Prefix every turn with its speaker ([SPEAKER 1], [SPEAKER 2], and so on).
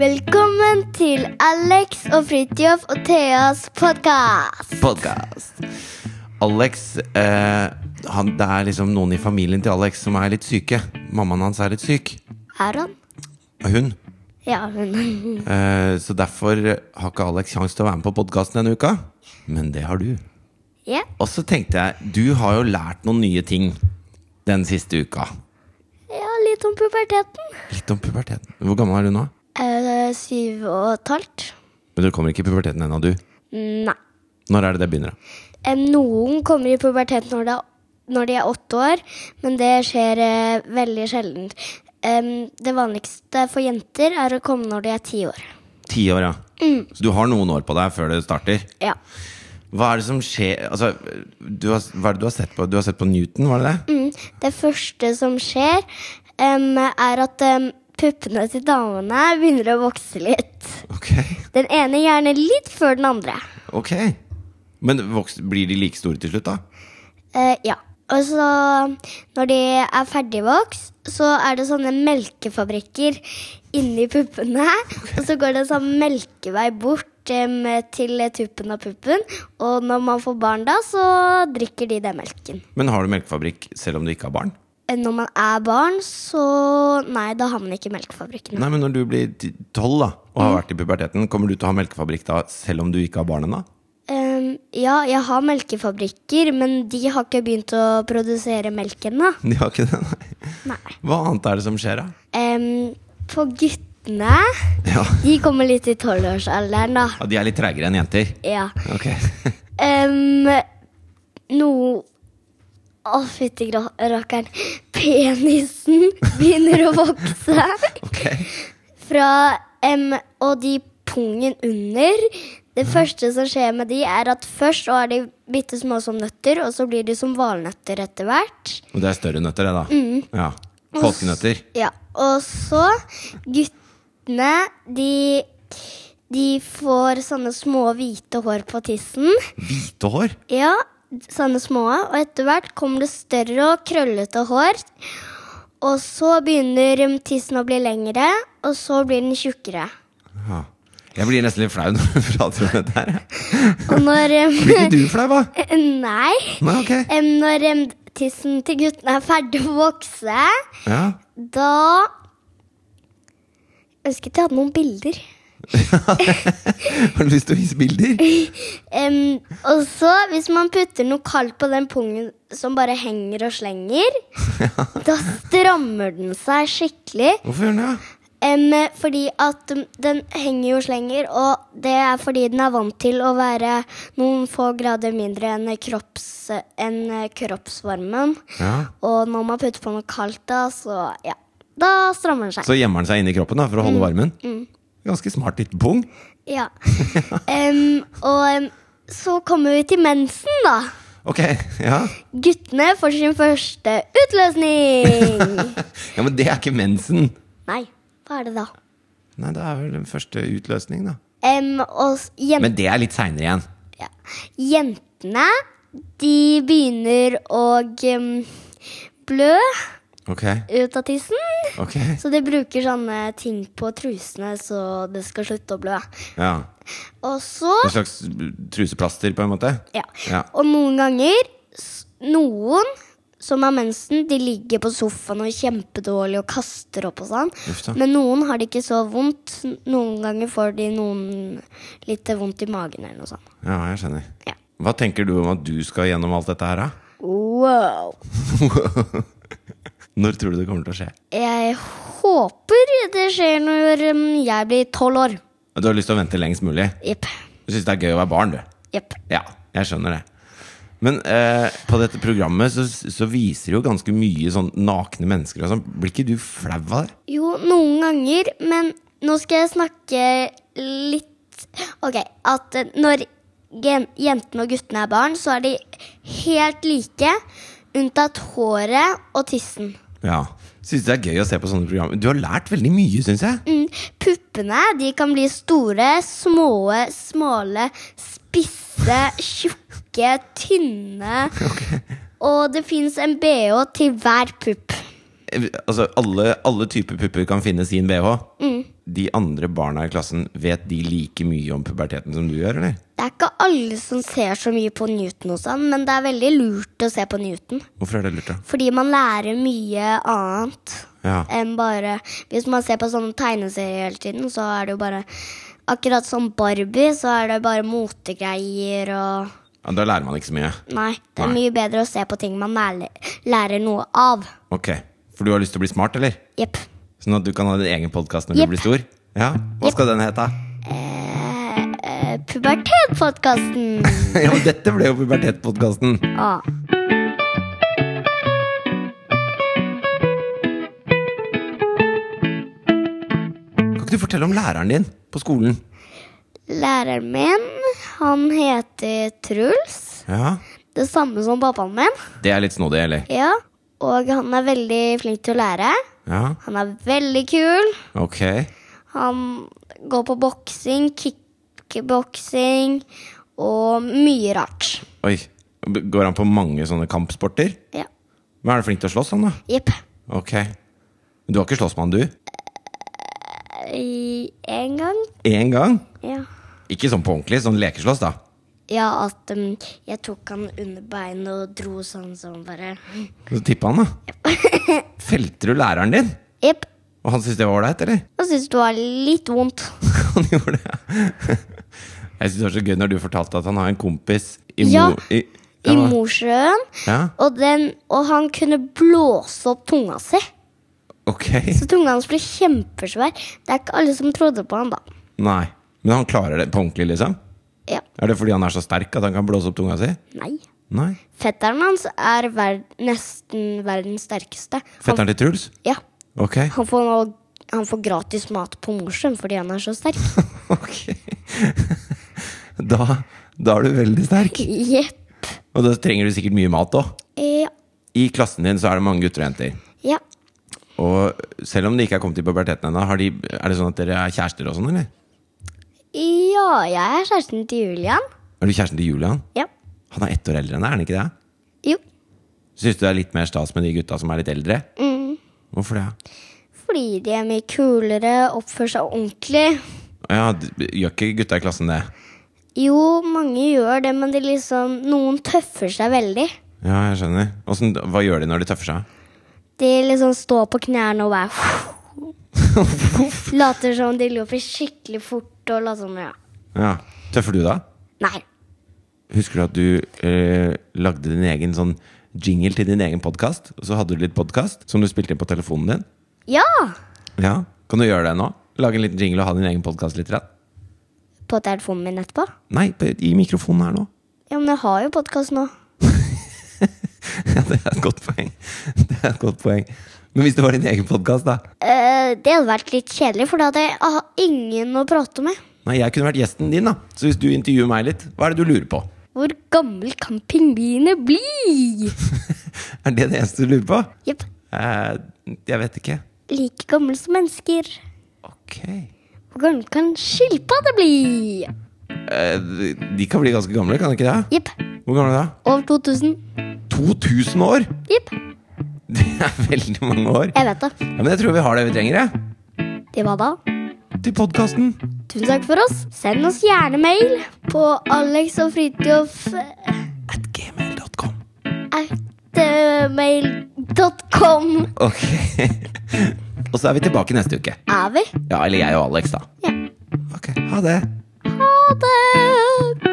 [SPEAKER 1] Velkommen til Alex og Fridtjof og Theas podkast.
[SPEAKER 2] Podcast Alex eh, han, Det er liksom noen i familien til Alex som er litt syke. Mammaen hans er litt syk.
[SPEAKER 1] Er han?
[SPEAKER 2] Hun.
[SPEAKER 1] Ja, men
[SPEAKER 2] Eh, så derfor har ikke Alex sjanse til å være med på podkasten denne uka. Men det har du.
[SPEAKER 1] Ja.
[SPEAKER 2] Og så tenkte jeg, du har jo lært noen nye ting den siste uka.
[SPEAKER 1] ja litt om puberteten.
[SPEAKER 2] Litt om puberteten. Hvor gammel er du nå?
[SPEAKER 1] Eh, syv og et halvt.
[SPEAKER 2] Men du kommer ikke i puberteten ennå, du.
[SPEAKER 1] Nei.
[SPEAKER 2] Når er det det begynner? da?
[SPEAKER 1] Eh, Noen kommer i pubertet når, det, er- når de er åtte år, men det skjer eh, veldig sjelden. Em, det vanligste for jenter er å komme når de er ti år.
[SPEAKER 2] Ti år, ja. Så du har noen år på deg før det starter.
[SPEAKER 1] Ja.
[SPEAKER 2] Hva er det som skjer altså, du har, Hva er det du har sett på? Du har sett på Newton, var det det?
[SPEAKER 1] Mm. Det første som skjer, em, er at em, puppene til damene begynner å vokse litt.
[SPEAKER 2] Ok
[SPEAKER 1] Den ene gjerne litt før den andre.
[SPEAKER 2] Ok Men voks, blir de like store til slutt da?
[SPEAKER 1] Eh, ja. Og så, når de er ferdigvokst, så er det sånne melkefabrikker inni puppene. Og så går det en sånn melkevei bort em, til tuppen av puppen. Og når man får barn da, så drikker de den melken.
[SPEAKER 2] Men har du melkefabrikk selv om du ikke har barn?
[SPEAKER 1] Eh, Når man er barn, så Nei, da har man ikke melkefabrikken.
[SPEAKER 2] Nei, men når du blir ti- tolv da Og har vært i puberteten Kommer du til å ha melkefabrikk da Selv om du ikke har barn ennå?
[SPEAKER 1] Em, Eh, ja, jeg har melkefabrikker, men de har ikke begynt å produsere melk ennå.
[SPEAKER 2] De har ikke det, nei
[SPEAKER 1] Nei.
[SPEAKER 2] Hva annet er det som skjer da?
[SPEAKER 1] Em, på guttene
[SPEAKER 2] Ja,
[SPEAKER 1] De kommer litt i tolvårsalderen, da.
[SPEAKER 2] ja de er litt tregere enn jenter
[SPEAKER 1] Ja.
[SPEAKER 2] Ok
[SPEAKER 1] Um, noe Å, fytti gra- rakkeren. Penisen begynner å vokse.
[SPEAKER 2] Ok
[SPEAKER 1] Fra em, Og de pungen under. Det første som skjer med de, er at først så er de bitte små som nøtter, og så blir de som valnøtter etter hvert.
[SPEAKER 2] Og det er større nøtter det da Ja Påskenøtter
[SPEAKER 1] Ja, og så guttene, de de får sånne små hvite hår på tissen.
[SPEAKER 2] Hvite hår
[SPEAKER 1] Ja, sånne små. Og etter hvert kommer det større og krøllete hår. Og så begynner um, tissen å bli lengre, og så blir den tjukkere.
[SPEAKER 2] ja. Jeg blir nesten litt flau når du prater om dette her
[SPEAKER 1] Og når um,
[SPEAKER 2] Blir ikke du flau da?
[SPEAKER 1] Nei.
[SPEAKER 2] Nei, ok
[SPEAKER 1] Um, Når um, tissen til guttene er ferdig å vokse,
[SPEAKER 2] Ja
[SPEAKER 1] da Jeg ønsket jeg hadde noen bilder.
[SPEAKER 2] Har du lyst til å vise bilder?
[SPEAKER 1] Um, og så, hvis man putter noe kaldt på den pungen som bare henger og slenger, da strammer den seg skikkelig.
[SPEAKER 2] Hvorfor gjør den det?
[SPEAKER 1] Em, fordi at um, den henger jo slenger, og det er fordi den er vant til å være noen få grader mindre enn kropps, enn kroppsvarmen.
[SPEAKER 2] Ja
[SPEAKER 1] Og når man putter på noe kaldt, da, så ja. Da strammer den seg.
[SPEAKER 2] Så gjemmer den seg inni kroppen da, for å holde varmen. Ganske smart liten pung.
[SPEAKER 1] Ja. Em, og em, så kommer vi til mensen, da.
[SPEAKER 2] Ok, ja.
[SPEAKER 1] Guttene får sin første utløsning.
[SPEAKER 2] ja, men det er ikke mensen.
[SPEAKER 1] Nei, hva er det da?
[SPEAKER 2] Nei, det er vel den første utløsning, da.
[SPEAKER 1] Em, og s- jen
[SPEAKER 2] Men det er litt seinere igjen.
[SPEAKER 1] ja. jentene, de begynner å em, blø
[SPEAKER 2] Ok,
[SPEAKER 1] ut av tissen.
[SPEAKER 2] ok.
[SPEAKER 1] Så de bruker sånne ting på trusene så det skal slutte å blø.
[SPEAKER 2] Ja.
[SPEAKER 1] Og så
[SPEAKER 2] En slags truseplaster, på en måte?
[SPEAKER 1] ja.
[SPEAKER 2] Ja.
[SPEAKER 1] Og noen ganger, s- noen som har mensen, de ligger på sofaen og er kjempedårlige og kaster opp og sånn.
[SPEAKER 2] Uff da.
[SPEAKER 1] Men noen har det ikke så vondt. Noen ganger får de noen litt vondt i magen eller noe sånt.
[SPEAKER 2] ja, jeg skjønner.
[SPEAKER 1] Ja.
[SPEAKER 2] Hva tenker du om at du skal gjennom alt dette her, da?
[SPEAKER 1] Wow.
[SPEAKER 2] Når tror du det kommer til å skje?
[SPEAKER 1] Jeg håper det skjer når um, jeg blir tolv år.
[SPEAKER 2] Du har lyst til å vente lengst mulig?
[SPEAKER 1] Jepp.
[SPEAKER 2] Du syns det er gøy å være barn, du?
[SPEAKER 1] Jepp.
[SPEAKER 2] Ja, jeg skjønner det. Men eh, på dette programmet så, så viser jo ganske mye sånn nakne mennesker og sånn. Blir ikke du flau av det?
[SPEAKER 1] Jo, noen ganger, men nå skal jeg snakke litt Ok, at eh, når gen jentene og guttene er barn, så er de helt like, unntatt håret og tissen.
[SPEAKER 2] Ja. Syns det er gøy å se på sånne programmer. Du har lært veldig mye, syns jeg.
[SPEAKER 1] Mm, puppene de kan bli store, små, smale, spisse, tjukke, tynne. Og det fins en bh til hver pupp. Mm.
[SPEAKER 2] Eh, Altså, alle, alle typer pupper kan finne sin bh. de andre barna i klassen Vet de like mye om puberteten som du gjør, eller?
[SPEAKER 1] Det er ikke alle som ser så mye på Newton og sånn, men det er veldig lurt å se på Newton.
[SPEAKER 2] Hvorfor er det lurt, da?
[SPEAKER 1] Fordi man lærer mye annet
[SPEAKER 2] Ja.
[SPEAKER 1] enn bare Hvis man ser på sånne tegneserier hele tiden, så er det jo bare Akkurat som Barbie, så er det bare motegreier og
[SPEAKER 2] Ja, da lærer man ikke så mye.
[SPEAKER 1] Nei. Det er
[SPEAKER 2] Nei.
[SPEAKER 1] mye bedre å se på ting man lærer, lærer noe av.
[SPEAKER 2] Ok, For du har lyst til å bli smart, eller?
[SPEAKER 1] Jepp.
[SPEAKER 2] Sånn at du kan ha din egen podkast når
[SPEAKER 1] Jepp.
[SPEAKER 2] du blir stor? Ja, Hva skal den hete?
[SPEAKER 1] Eh, eh, Pubertetpodkasten.
[SPEAKER 2] ja, men dette ble jo pubertetpodkasten!
[SPEAKER 1] ah.
[SPEAKER 2] Kan ikke du fortelle om læreren din på skolen?
[SPEAKER 1] Læreren min, han heter Truls.
[SPEAKER 2] Ja,
[SPEAKER 1] Det samme som pappaen min.
[SPEAKER 2] Det er litt snodig, eller?
[SPEAKER 1] Ja, og han er veldig flink til å lære.
[SPEAKER 2] Ja,
[SPEAKER 1] Han er veldig kul.
[SPEAKER 2] ok.
[SPEAKER 1] Han går på boksing, kickboksing og mye rart.
[SPEAKER 2] Oi. Går han på mange sånne kampsporter?
[SPEAKER 1] Ja.
[SPEAKER 2] Men er han flink til å slåss, han, da?
[SPEAKER 1] Jepp.
[SPEAKER 2] Ok. Men du har ikke slåss med han, du?
[SPEAKER 1] I- En gang.
[SPEAKER 2] Én gang?
[SPEAKER 1] Ja.
[SPEAKER 2] Ikke sånn på ordentlig, sånn lekeslåss, da?
[SPEAKER 1] Ja, at um, jeg tok han under beinet og dro sånn som bare
[SPEAKER 2] Så tippa han, da. Felte du læreren din?
[SPEAKER 1] Jepp.
[SPEAKER 2] Og han syntes det var ålreit, eller?
[SPEAKER 1] Og syntes det var litt vondt.
[SPEAKER 2] Han gjorde det. Jeg syns det var så gøy når du fortalte at han har en kompis i
[SPEAKER 1] Ja,
[SPEAKER 2] Mo... I,
[SPEAKER 1] I
[SPEAKER 2] Ja,
[SPEAKER 1] Mosjøen.
[SPEAKER 2] Ja,
[SPEAKER 1] Og, den- og han kunne blåse opp tunga si.
[SPEAKER 2] ok.
[SPEAKER 1] Så tunga hans ble kjempesvær. Det er ikke alle som trodde på han da.
[SPEAKER 2] Nei. Men han klarer det på ordentlig, liksom?
[SPEAKER 1] Ja,
[SPEAKER 2] Er det fordi han er så sterk at han kan blåse opp tunga si?
[SPEAKER 1] nei.
[SPEAKER 2] Nei.
[SPEAKER 1] Fetteren hans er ver nesten verdens sterkeste. Han,
[SPEAKER 2] Fetteren til Truls?
[SPEAKER 1] ja,
[SPEAKER 2] Ok.
[SPEAKER 1] han, får nå, han får gratis mat på Mosjøen fordi han er så sterk.
[SPEAKER 2] ok. Da, da er du veldig sterk.
[SPEAKER 1] Jepp.
[SPEAKER 2] Og da trenger du sikkert mye mat òg.
[SPEAKER 1] Ja.
[SPEAKER 2] I klassen din så er det mange gutter og jenter.
[SPEAKER 1] ja.
[SPEAKER 2] Og selv om de ikke er kommet i puberteten ennå, har de- er det sånn at dere er kjærester og sånn, eller?
[SPEAKER 1] Ja, jeg er kjæresten til Julian.
[SPEAKER 2] Er du kjæresten til Julian?
[SPEAKER 1] Ja.
[SPEAKER 2] Han er ett år eldre enn deg, er han ikke det?
[SPEAKER 1] Jo,
[SPEAKER 2] Syns du det er litt mer stas med de gutta som er litt eldre? Hvorfor det?
[SPEAKER 1] fordi de er mye kulere, oppfører seg ordentlig.
[SPEAKER 2] Ja, d- Gjør ikke gutta i klassen det?
[SPEAKER 1] Jo, mange gjør det, men de liksom, noen tøffer seg veldig.
[SPEAKER 2] Ja, jeg skjønner. Åssen- hva gjør de når de tøffer seg?
[SPEAKER 1] De liksom står på knærne og bare Later som de løper skikkelig fort og later som ja.
[SPEAKER 2] Ja, Tøffer du da?
[SPEAKER 1] Nei.
[SPEAKER 2] Husker du at du eh, lagde din egen sånn jingle til din egen podkast? Og så hadde du litt podkast som du spilte inn på telefonen din?
[SPEAKER 1] Ja!
[SPEAKER 2] Ja, Kan du gjøre det nå? Lage en liten jingle og ha din egen podkast litt? rett?
[SPEAKER 1] På telefonen min etterpå.
[SPEAKER 2] Nei, på- i mikrofonen her nå.
[SPEAKER 1] Ja, men jeg har jo podkast nå.
[SPEAKER 2] Ja, det er et godt poeng. Det er et godt poeng. Men hvis det var din egen podkast, da?
[SPEAKER 1] Eh, det hadde vært litt kjedelig, for da hadde jeg ah, ingen å prate med.
[SPEAKER 2] Nei, jeg kunne vært gjesten din, da. Så hvis du intervjuer meg litt, hva er det du lurer på?
[SPEAKER 1] Hvor gammel kan pingviner bli?
[SPEAKER 2] Er det det eneste du lurer på?
[SPEAKER 1] Jepp.
[SPEAKER 2] Eh, jeg vet ikke.
[SPEAKER 1] Like gammel som mennesker.
[SPEAKER 2] Ok.
[SPEAKER 1] Hvor gammel kan skilpadde bli?
[SPEAKER 2] Eh, de kan bli ganske gamle, kan de ikke det?
[SPEAKER 1] Jepp.
[SPEAKER 2] Hvor gamle da?
[SPEAKER 1] Over 2000.
[SPEAKER 2] 2000 år!
[SPEAKER 1] Jepp.
[SPEAKER 2] Det er veldig mange år.
[SPEAKER 1] Jeg vet det.
[SPEAKER 2] Ja, men jeg tror vi har det vi trenger, jeg.
[SPEAKER 1] Det var da.
[SPEAKER 2] Til podkasten.
[SPEAKER 1] Tusen takk for oss. Send oss gjerne mail på Alex og Fridtjof
[SPEAKER 2] At gmail.com.
[SPEAKER 1] atmail.com.
[SPEAKER 2] Ok. og så er vi tilbake neste uke.
[SPEAKER 1] Er vi?
[SPEAKER 2] Ja, eller jeg og Alex, da.
[SPEAKER 1] Ja.
[SPEAKER 2] Ok, ha det.
[SPEAKER 1] Ha det!